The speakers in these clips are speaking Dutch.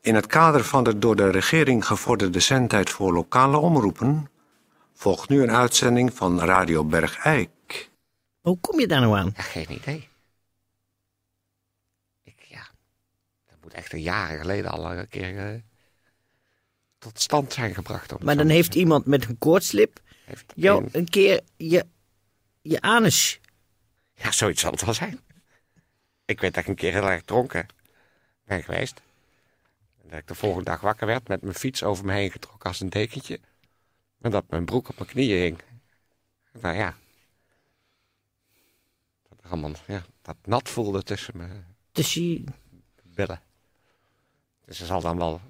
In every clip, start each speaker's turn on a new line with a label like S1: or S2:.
S1: In het kader van de door de regering gevorderde zendtijd voor lokale omroepen volgt nu een uitzending van Radio Bergijk.
S2: Hoe kom je daar nou aan?
S3: Ja, geen idee. Ik, ja, dat moet echt een jaren geleden al een keer eh, tot stand zijn gebracht. om het
S2: Maar
S3: zo
S2: dan
S3: te
S2: heeft
S3: zeggen.
S2: iemand met een koortslip
S3: Heeft
S2: jou
S3: een-
S2: een keer je, je anus.
S3: Ja, zoiets zal het wel zijn. Ik weet dat ik een keer heel erg dronken ben geweest. En dat ik de volgende dag wakker werd met mijn fiets over me heen getrokken als een dekentje. En dat mijn broek op mijn knieën hing. Nou ja. Dat, er allemaal, ja, dat nat voelde tussen mijn
S2: Dus je,
S3: billen. Dus er zal dan wel...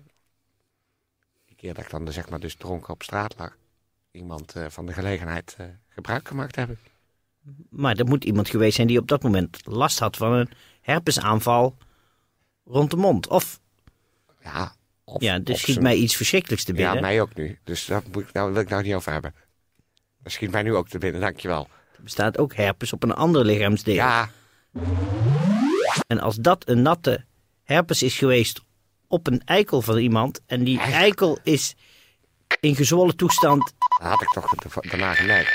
S3: Die keer dat ik dan zeg maar dus dronken op straat lag... iemand eh, van de gelegenheid eh, gebruik gemaakt hebben.
S2: maar er moet iemand geweest zijn die op dat moment last had van een herpesaanval rond de mond. Of,
S3: Ja, of
S2: ja, dus
S3: op
S2: schiet
S3: zijn-
S2: mij iets verschrikkelijks te binnen.
S3: Ja, mij ook nu. Dus daar moet ik nou, wil ik nou niet over hebben. Dat schiet mij nu ook te binnen, dankjewel.
S2: Er bestaat ook herpes op een ander lichaamsdeel.
S3: Ja,
S2: En als dat een natte herpes is geweest op een eikel van iemand... en die
S3: Echt?
S2: eikel is in gezwollen toestand...
S3: dat had ik toch da- daarna gemerkt.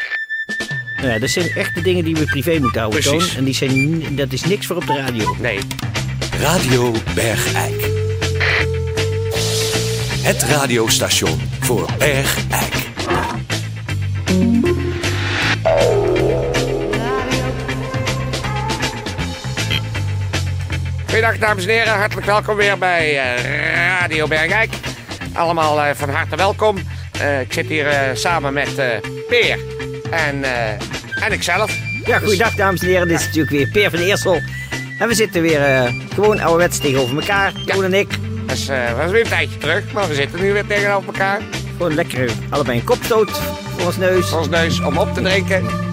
S2: Nou ja, dat zijn echt de dingen die we privé moeten houden,
S3: Precies.
S2: Toon. En die zijn, n- dat is niks voor op de radio.
S3: Nee,
S4: Radio Bergijk. Het radiostation voor Bergijk.
S3: Goedendag dames en heren, hartelijk welkom weer bij eh, Radio Bergijk. Allemaal eh, van harte welkom. Eh, ik zit hier eh, samen met eh, Peer en, eh, en ikzelf.
S2: Ja, goeiedag dames en heren. Dit is natuurlijk weer Peer van Eersel. En we zitten weer eh, gewoon ouderwets tegenover elkaar.
S3: Ja.
S2: Toon en ik.
S3: Dat is, eh, was weer een tijdje terug, maar we zitten nu weer tegenover elkaar.
S2: Gewoon lekker eh, allebei een kopstoot voor ons neus.
S3: Voor ons neus om op te drinken.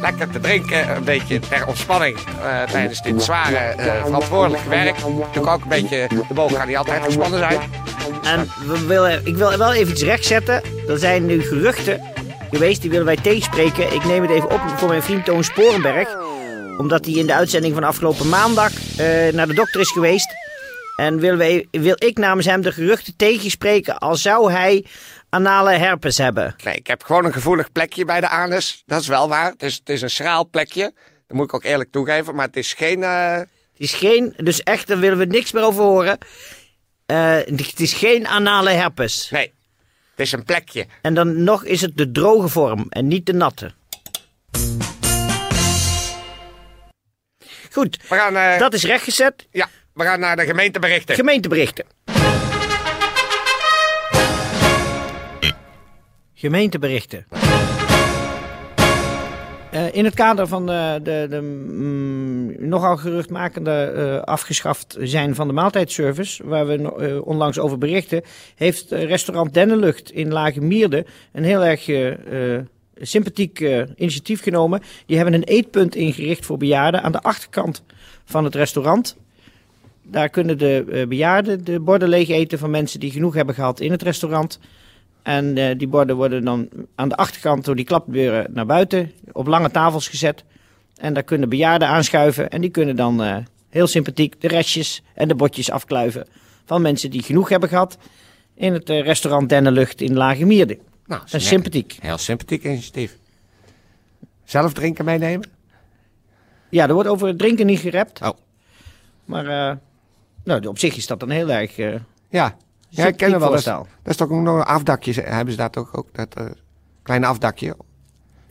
S3: Lekker te drinken, een beetje ter ontspanning eh, tijdens dit zware eh, verantwoordelijke werk. Natuurlijk ook een beetje, de boog gaat niet altijd gespannen zijn.
S2: En we willen, ik wil wel even iets rechtzetten. Er zijn nu geruchten geweest, die willen wij tegenspreken. Ik neem het even op voor mijn vriend Toon Sporenberg. Omdat hij in de uitzending van afgelopen maandag eh, naar de dokter is geweest. En willen wij, wil ik namens hem de geruchten tegenspreken als zou hij anale herpes hebben.
S3: Nee, ik heb gewoon een gevoelig plekje bij de anus. Dat is wel waar. Het is, het is een schraal plekje. Dat moet ik ook eerlijk toegeven. Maar het is geen... eh,
S2: Het is geen, dus echt, daar willen we niks meer over horen. Eh, het is geen anale herpes.
S3: nee, het is een plekje.
S2: En dan nog is het de droge vorm en niet de natte. Goed,
S3: We gaan, eh,
S2: dat is rechtgezet.
S3: ja, we gaan naar de gemeenteberichten.
S2: Gemeenteberichten. Gemeenteberichten. Eh, in het kader van eh, de, de mm, nogal geruchtmakende eh, afgeschaft zijn van de maaltijdservice, waar we no- eh, onlangs over berichten, heeft eh, restaurant Dennenlucht in Lage Mierde een heel erg eh, eh, sympathiek eh, initiatief genomen. Die hebben een eetpunt ingericht voor bejaarden aan de achterkant van het restaurant. Daar kunnen de eh, bejaarden de borden leeg eten van mensen die genoeg hebben gehad in het restaurant. En eh, die borden worden dan aan de achterkant door die klapdeuren naar buiten op lange tafels gezet. En daar kunnen bejaarden aanschuiven en die kunnen dan eh, heel sympathiek de restjes en de botjes afkluiven van mensen die genoeg hebben gehad in het eh, restaurant Dennenlucht in Lage Mierde.
S3: Nou,
S2: Dat is sympathiek.
S3: Heel sympathiek initiatief. Zelf drinken meenemen?
S2: Ja, er wordt over het drinken niet gerept.
S3: Oh.
S2: Maar eh, nou, op zich is dat dan heel erg... eh,
S3: Ja, ja ik ken
S2: Sympathiek
S3: hem wel. Dat is,
S2: voorstel.
S3: dat is toch ook nog een afdakje, ze- hebben ze daar toch ook? Dat eh, kleine afdakje.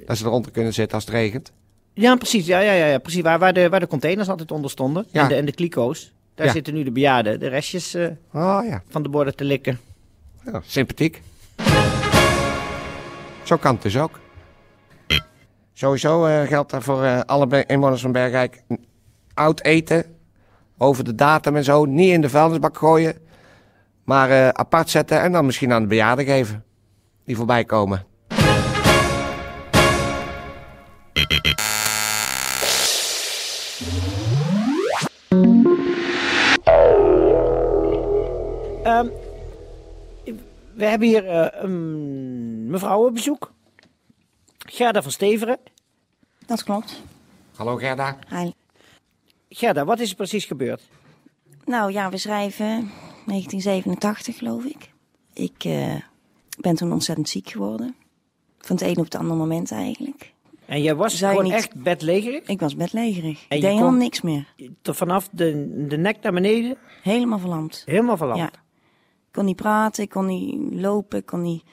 S3: Dat ze eronder kunnen zitten als het regent.
S2: Ja, precies. Ja, ja, ja, ja, precies. Waar, waar, de, waar de containers altijd onder stonden.
S3: Ja.
S2: En, de, en de kliko's. Daar
S3: Ja.
S2: zitten nu de bejaarden. De restjes eh,
S3: Oh ja,
S2: van de borden te likken.
S3: Ja, sympathiek. Zo kan het dus ook. Sowieso eh, geldt dat voor eh, alle be- inwoners van Bergrijk. Oud eten, over de datum en zo, niet in de vuilnisbak gooien. Maar eh, apart zetten en dan misschien aan de bejaarden geven. Die voorbij komen.
S2: Ehm, we hebben hier eh, een mevrouw op bezoek. Gerda van Steveren.
S5: Dat klopt.
S3: Hallo Gerda.
S5: Hij-
S2: Gerda, wat is er precies gebeurd?
S5: Nou ja, we schrijven 1987 geloof ik. Ik eh, ben toen ontzettend ziek geworden. Van het een op het andere moment eigenlijk.
S2: En jij was
S5: Zou je
S2: gewoon
S5: niet-
S2: echt bedlegerig?
S5: Ik was bedlegerig.
S2: En je
S5: Ik deed helemaal
S2: kon-
S5: niks meer.
S2: Tot Vanaf de, de nek naar beneden,
S5: Helemaal verlamd.
S2: helemaal verlamd.
S5: Ja. Ik kon niet praten, ik kon niet lopen, ik kon niet...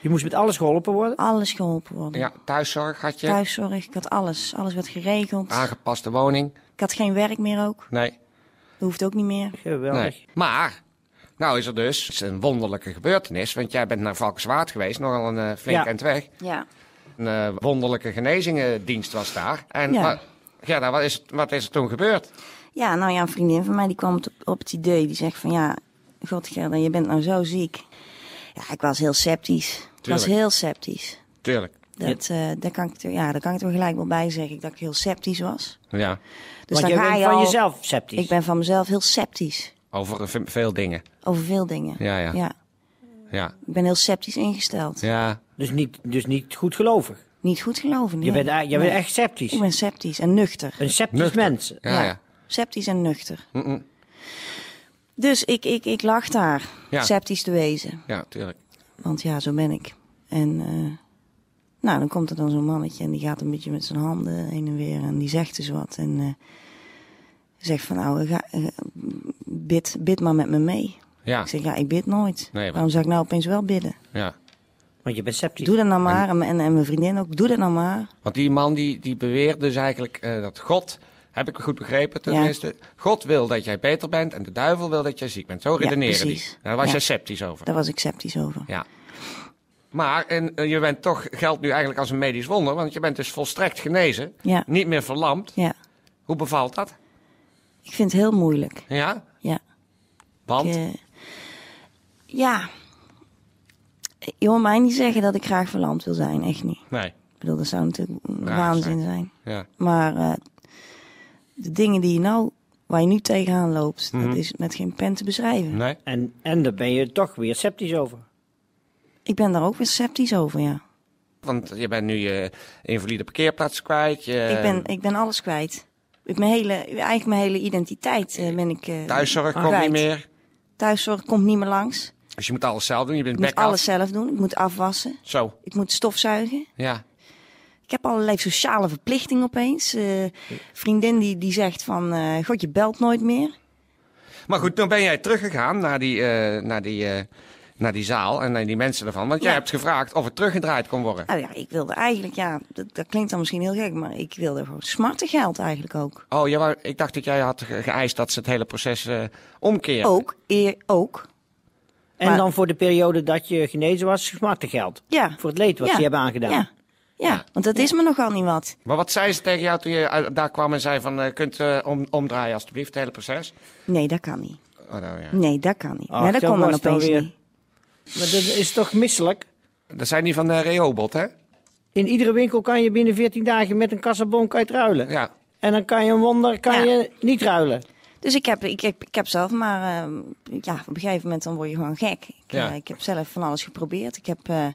S2: Je moest met alles geholpen worden.
S5: Alles geholpen worden.
S3: Ja, thuiszorg had je.
S5: Thuiszorg, ik had alles. Alles werd geregeld.
S3: Aangepaste woning.
S5: Ik had geen werk meer ook.
S3: Nee.
S5: Dat hoeft ook niet meer.
S2: Geweldig.
S3: nee. Maar, nou is er dus het is een wonderlijke gebeurtenis. Want jij bent naar Valkenswaard geweest, nogal een eh, flink
S2: Ja.
S3: eind weg.
S5: Ja.
S3: Een eh, wonderlijke genezingendienst was daar. En
S5: Ja.
S3: wa- ja, nou, wat, is, wat is er toen gebeurd?
S5: Ja, nou ja, een vriendin van mij die kwam op, op het idee. Die zegt van ja, god Gerda, je bent nou zo ziek. Ja, ik was heel sceptisch. Ik was
S3: Tuurlijk.
S5: heel sceptisch.
S3: Tuurlijk.
S5: Dat, eh daar, kan ik, er- ja, daar kan ik er gelijk wel bij zeggen dat ik heel sceptisch was.
S3: Ja,
S2: Want
S5: Dus dan
S2: je
S5: ga
S2: bent
S5: je
S2: van
S5: al-
S2: jezelf sceptisch.
S5: Ik ben van mezelf heel sceptisch
S3: over eh, ve- veel dingen.
S5: over veel dingen.
S3: Ja, ja. Ja,
S5: ik ben heel sceptisch ingesteld.
S3: ja.
S2: Dus, niet, dus niet goed gelovig.
S5: Niet goed geloven.
S2: Je
S5: nee.
S2: bent, je
S5: Nee.
S2: bent echt sceptisch.
S5: Ik ben sceptisch en nuchter.
S2: Een sceptisch
S3: Nuchter.
S2: mens.
S3: Ja, ja.
S5: Sceptisch en nuchter. Dus ik, ik, ik lag daar,
S3: Ja.
S5: sceptisch te wezen.
S3: Ja, tuurlijk.
S5: Want ja, zo ben ik. En eh, nou, dan komt er dan zo'n mannetje en die gaat een beetje met zijn handen heen en weer en die zegt dus wat. En eh, zegt van nou, ga, eh, bid, bid maar met me mee.
S3: Ja,
S5: Ik zeg ja, ik bid nooit.
S3: Ah. Nee, maar-
S5: Waarom zou ik nou opeens wel bidden?
S3: ja.
S2: Want je bent sceptisch.
S5: Doe dat nou maar. En, en, en mijn vriendin ook, doe dat nou maar.
S3: Want die man die, die beweert dus eigenlijk eh, dat God, heb ik goed begrepen tenminste, God wil dat jij beter bent en de duivel wil dat jij ziek bent. Zo redeneren die.
S5: precies.
S3: Nou, Daar was
S5: Ja.
S3: jij sceptisch over.
S5: Daar was ik sceptisch over.
S3: Ja. Maar en, eh, je bent toch, geldt nu eigenlijk als een medisch wonder, want je bent dus volstrekt genezen,
S5: Ja.
S3: niet meer verlamd.
S5: ja.
S3: Hoe bevalt dat?
S5: Ik vind het heel moeilijk.
S3: Ja,
S5: Ja.
S3: want?
S5: Ik, eh, ja. Je hoort mij niet zeggen dat ik graag verlamd wil zijn. Echt niet.
S3: Nee.
S5: Ik bedoel, dat zou natuurlijk
S3: Ja,
S5: waanzin
S3: zeker.
S5: zijn.
S3: Ja.
S5: Maar eh, de dingen die je nou, waar je nu tegenaan loopt, dat is met geen pen te beschrijven.
S3: Nee.
S2: En, en daar ben je toch weer sceptisch over.
S5: Ik ben daar ook weer sceptisch over, ja.
S3: Want je bent nu je invalide parkeerplaats kwijt. Je
S5: ik, ben, ik ben alles kwijt. Ik mijn hele, eigenlijk mijn hele identiteit eh, ben ik eh,
S3: thuiszorg komt
S5: kwijt.
S3: niet meer.
S5: Thuiszorg komt niet meer langs.
S3: Dus je moet alles zelf doen. Je bent
S5: Ik moet
S3: back-up.
S5: alles zelf doen. Ik moet afwassen.
S3: Zo,
S5: Ik moet stofzuigen.
S3: ja.
S5: Ik heb allerlei sociale verplichtingen opeens. Eh, vriendin die, die zegt van, eh, god, je belt nooit meer.
S3: Maar goed, dan ben jij teruggegaan naar die, eh, naar die, eh, naar die zaal en naar die mensen ervan. Want jij
S5: Ja.
S3: hebt gevraagd of het teruggedraaid kon worden.
S5: Nou ja, ik wilde eigenlijk, ja, dat, dat klinkt dan misschien heel gek, maar ik wilde gewoon smartengeld eigenlijk ook.
S3: Oh, jij wou- ik dacht dat jij had ge- geëist dat ze het hele proces eh omkeren.
S5: Ook, eer, ook.
S2: En
S5: Maar-
S2: dan voor de periode dat je genezen was, smarten geld.
S5: Ja.
S2: Voor het leed wat
S5: Ja.
S2: ze hebben aangedaan.
S5: Ja. ja, want dat is me nogal niet wat.
S3: Maar wat zei ze tegen jou toen je eh, daar kwam en zei van, eh, kunt eh, om, omdraaien alstublieft, het hele proces?
S5: Nee, dat kan niet.
S3: Oh, nou, ja.
S5: Nee, dat kan niet.
S2: Ach,
S5: ja, dat
S2: zo
S5: kon
S2: was
S5: dan
S2: het
S5: opeens
S2: alweer.
S5: niet.
S2: Maar dat is toch misselijk?
S3: Dat zijn die van de Reobot, hè?
S2: In iedere winkel kan je binnen 14 dagen met een kassabon kwijt ruilen.
S3: Ja.
S2: En dan kan je een wonder kan
S5: Ja.
S2: je niet ruilen.
S5: Dus ik heb, ik, heb, ik heb zelf maar, ehm, ja, op een gegeven moment dan word je gewoon gek. Ik,
S3: Ja.
S5: eh, ik heb zelf van alles geprobeerd. Ik heb, eh, ik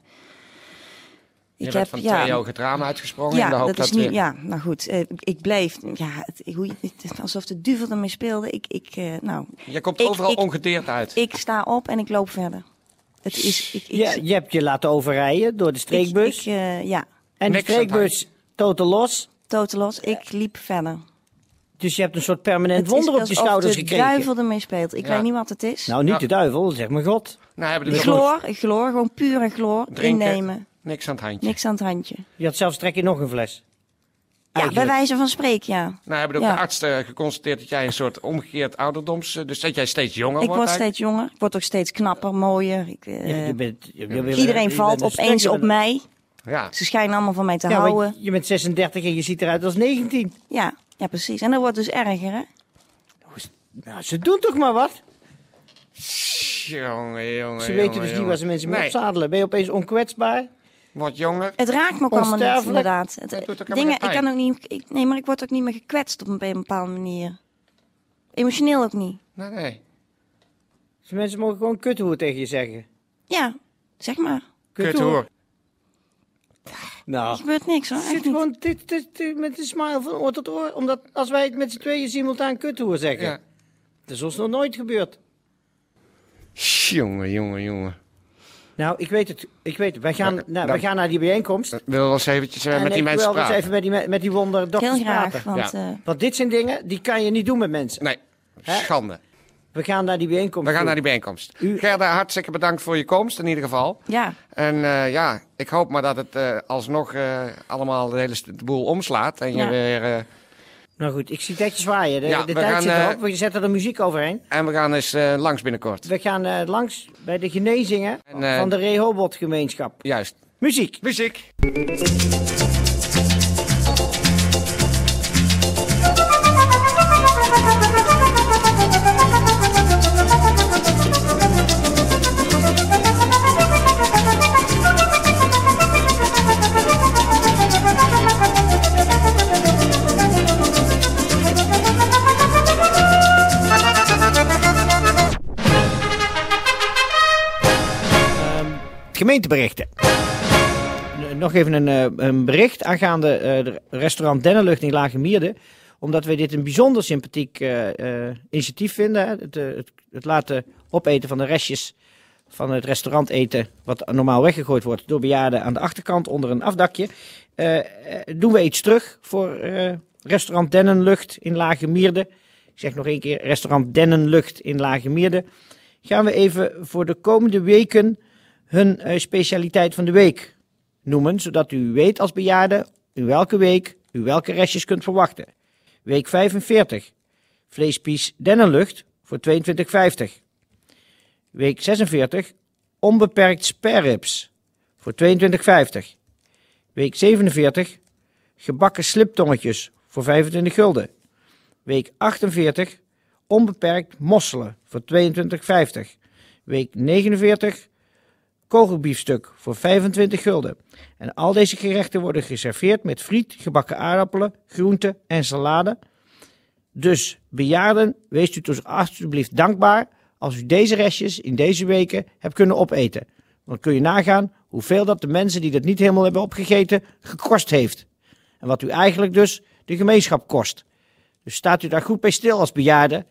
S3: Je bent van twee ogen het raam uitgesprongen in de
S5: Ja,
S3: hoop
S5: dat
S3: dat,
S5: is nu,
S3: je-
S5: ja, nou goed, eh, ik bleef, ja, het, hoe, je- het is alsof de duivel ermee speelde. Ik, ik, eh, nou,
S3: Je komt
S5: Ik-
S3: overal
S5: ik-
S3: ongedeerd uit.
S5: ik sta op en ik loop verder. Het is, ik, ik,
S2: Ja,
S5: ik-
S2: je hebt je laten overrijden door de streekbus.
S5: ik, eh, ja,
S2: en die
S3: Niks aan het
S2: streekbus totaal los.
S5: totaal los. Ik liep verder.
S2: Dus je hebt een soort permanent
S5: Het is
S2: wonder op je
S5: alsof
S2: schouders
S5: de
S2: gekregen.
S5: duivel ermee speelt. Ik
S3: Ja.
S5: weet niet wat het is.
S2: Nou, niet
S3: Ja.
S2: de duivel, zeg maar God.
S3: nou, hebben
S5: De
S3: die gewoon
S5: chloor, chloor, gewoon pure chloor,
S3: drinken,
S5: innemen.
S3: Niks aan het handje.
S5: Niks aan het handje.
S2: Je had zelfs trek in nog een fles.
S5: Ja, bij
S2: Eigenlijk.
S5: wijze van spreken, ja.
S3: Nou, hebben ook
S5: Ja.
S3: de artsen geconstateerd dat jij een soort omgekeerd ouderdoms... eh, Dus dat jij steeds jonger
S5: Ik
S3: wordt
S5: word
S3: eigenlijk.
S5: steeds jonger. Ik word ook steeds knapper, mooier. Ik, eh,
S2: Ja, je bent, je- je bent- je
S5: iedereen
S2: bent
S5: valt
S2: een
S5: opeens
S2: stukje-
S5: op mij.
S3: Ja.
S5: Ze schijnen allemaal van mij te
S2: Ja,
S5: houden.
S2: want je bent 36 en je ziet eruit als 19.
S5: Ja, ja, precies. En dat wordt dus erger, hè?
S2: Nou, ze doen toch maar wat?
S3: Jongen, jongen,
S2: Ze weten
S3: jongen,
S2: dus niet
S3: jongen.
S2: waar ze mensen mee
S3: nee,
S2: opzadelen. Ben je opeens onkwetsbaar?
S3: Word jonger.
S5: Het raakt me ook allemaal niet,
S2: Onsterfelijk.
S5: inderdaad. Het, eh,
S3: Dat doet ook helemaal
S5: dingen,
S3: geen
S5: ik
S3: pijn.
S5: kan ook niet, ik- nee, maar ik word ook niet meer gekwetst op een, be- een bepaalde manier. Emotioneel ook niet.
S3: Nee, nee.
S2: Dus mensen mogen gewoon kuthoer tegen je zeggen.
S5: Ja, zeg maar.
S3: Kut hoor.
S5: Er
S2: Nou,
S5: gebeurt niks hoor.
S2: zit
S5: Echt niet.
S2: gewoon dit, dit, dit met een smile van oor tot oor. Omdat als wij het met z'n tweeën simultaan kuthoer zeggen.
S3: Ja.
S2: Dat is ons nog nooit gebeurd.
S3: Tjonge, jonge, jonge.
S2: Nou, ik weet het. Ik weet het. Wij gaan,
S3: Ja,
S2: nou,
S3: dan-
S2: wij gaan naar die bijeenkomst.
S3: Ik wil wel eens eventjes eh,
S2: En
S3: met die
S2: ik
S3: mensen
S2: wil eens
S3: praten.
S2: even met die, me- met die wonderdokters
S5: Heel graag,
S2: praten.
S5: want eh,
S2: Want dit zijn dingen, die kan je niet doen met mensen.
S3: Nee,
S2: Hè?
S3: schande.
S2: We gaan naar die bijeenkomst.
S3: We gaan
S2: toe.
S3: naar die bijeenkomst.
S2: U-
S3: Gerda, hartstikke bedankt voor je komst in ieder geval.
S5: ja,
S3: En eh, ja, ik hoop maar dat het eh, alsnog eh, allemaal de hele st- de boel omslaat. En, je
S5: Ja.
S3: weer, eh,
S2: Nou goed, ik zie dat je zwaaien. De,
S3: Ja,
S2: de
S3: we
S2: tijd
S3: gaan,
S2: zit erop.
S3: eh,
S2: We zetten er muziek overheen.
S3: en we gaan eens eh, langs binnenkort.
S2: We gaan eh, langs bij de genezingen
S3: En, eh,
S2: van de Rehobot-gemeenschap.
S3: Juist.
S2: Muziek.
S3: Muziek.
S2: Gemeenteberichten. N- Nog even een, eh, een bericht aangaande eh, de restaurant Dennenlucht in Lage Mierde. Omdat wij dit een bijzonder sympathiek eh, eh, initiatief vinden. hè. Het, eh, het, het laten opeten van de restjes van het restaurant eten. Wat normaal weggegooid wordt door bejaarden aan de achterkant onder een afdakje. Eh, eh, doen we iets terug voor eh, restaurant Dennenlucht in Lage Mierde. Ik zeg nog één keer restaurant Dennenlucht in Lage Mierde. Gaan we even voor de komende weken hun eh, specialiteit van de week noemen, zodat u weet als bejaarde in welke week u welke restjes kunt verwachten. Week 45, vleespies dennenlucht voor 22,50. Week 46, onbeperkt sperrips voor 22,50. Week 47, gebakken sliptongetjes voor 25 gulden. Week 48, onbeperkt mosselen voor 22,50. Week 49, kogelbiefstuk voor 25 gulden. En al deze gerechten worden geserveerd met friet, gebakken aardappelen, groenten en salade. Dus bejaarden, wees u dus alsjeblieft dankbaar als u deze restjes in deze weken hebt kunnen opeten. Want kun je nagaan hoeveel dat de mensen die dat niet helemaal hebben opgegeten gekost heeft. En wat u eigenlijk dus de gemeenschap kost. Dus staat u daar goed bij stil als bejaarde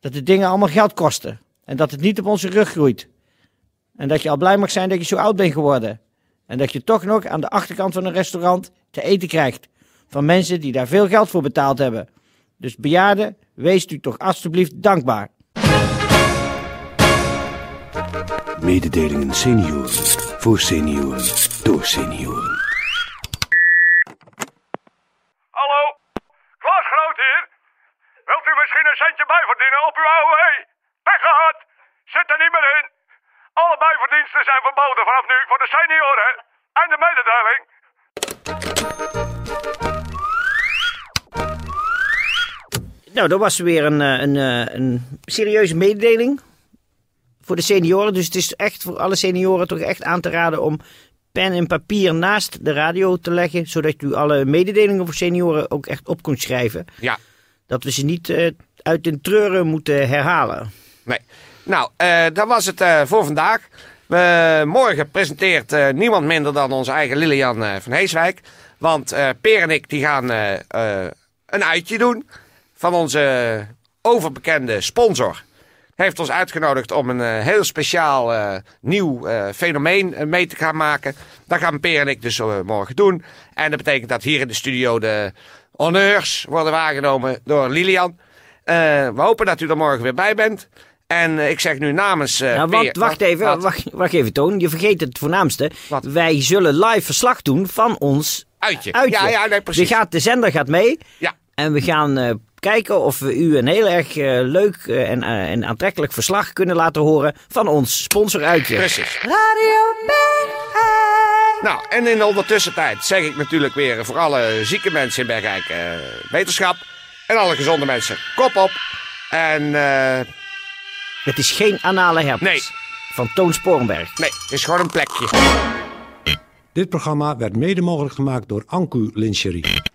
S2: dat de dingen allemaal geld kosten. En dat het niet op onze rug groeit. En dat je al blij mag zijn dat je zo oud bent geworden. En dat je toch nog aan de achterkant van een restaurant te eten krijgt. Van mensen die daar veel geld voor betaald hebben. Dus bejaarden, wees u toch alstublieft dankbaar.
S4: Mededelingen senioren. Voor senioren. Door senioren.
S6: Hallo? Klaas Groot hier? Wilt u misschien een centje bijverdienen op uw AOW? Pech gehad! Zit er niet meer in! Alle bijverdiensten zijn verboden vanaf nu voor de senioren. En de mededeling.
S2: Nou, dat was weer een, eh, een, eh, een serieuze mededeling voor de senioren. Dus het is echt voor alle senioren toch echt aan te raden om pen en papier naast de radio te leggen. Zodat u alle mededelingen voor senioren ook echt op kunt schrijven.
S3: Ja.
S2: dat we ze niet eh, uit hun treuren moeten herhalen.
S3: Nee. Nou, eh, dat was het eh, voor vandaag. We- morgen presenteert eh, niemand minder dan onze eigen Lilian eh, van Heeswijk. Want eh Per en ik die gaan eh, eh, een uitje doen van onze overbekende sponsor. Heeft ons uitgenodigd om een eh, heel speciaal eh, nieuw eh, fenomeen eh, mee te gaan maken. Dat gaan Per en ik dus eh, morgen doen. En dat betekent dat hier in de studio de honneurs worden waargenomen door Lilian. Eh, we hopen dat u er morgen weer bij bent. En eh, ik zeg nu namens. eh,
S2: nou,
S3: Peer-
S2: want, wacht even,
S3: wat?
S2: Wacht, wacht even, Toon. Je vergeet het voornaamste.
S3: Wat?
S2: Wij zullen live verslag doen van ons
S3: Uitje.
S2: uitje.
S3: Ja, ja, nee, precies.
S2: We gaat, de zender gaat mee
S3: Ja,
S2: en we gaan eh, kijken of we u een heel erg eh, leuk eh, en, eh, en aantrekkelijk verslag kunnen laten horen van ons sponsoruitje.
S3: precies. Nou, en in de ondertussentijd zeg ik natuurlijk weer voor alle zieke mensen in Bergrijk eh, wetenschap. En alle gezonde mensen, kop op. En eh,
S2: Het is geen anale herpes.
S3: Nee.
S2: Van Toon Sporenberg.
S3: nee, het is gewoon een plekje.
S1: Dit programma werd mede mogelijk gemaakt door Anku Lingerie.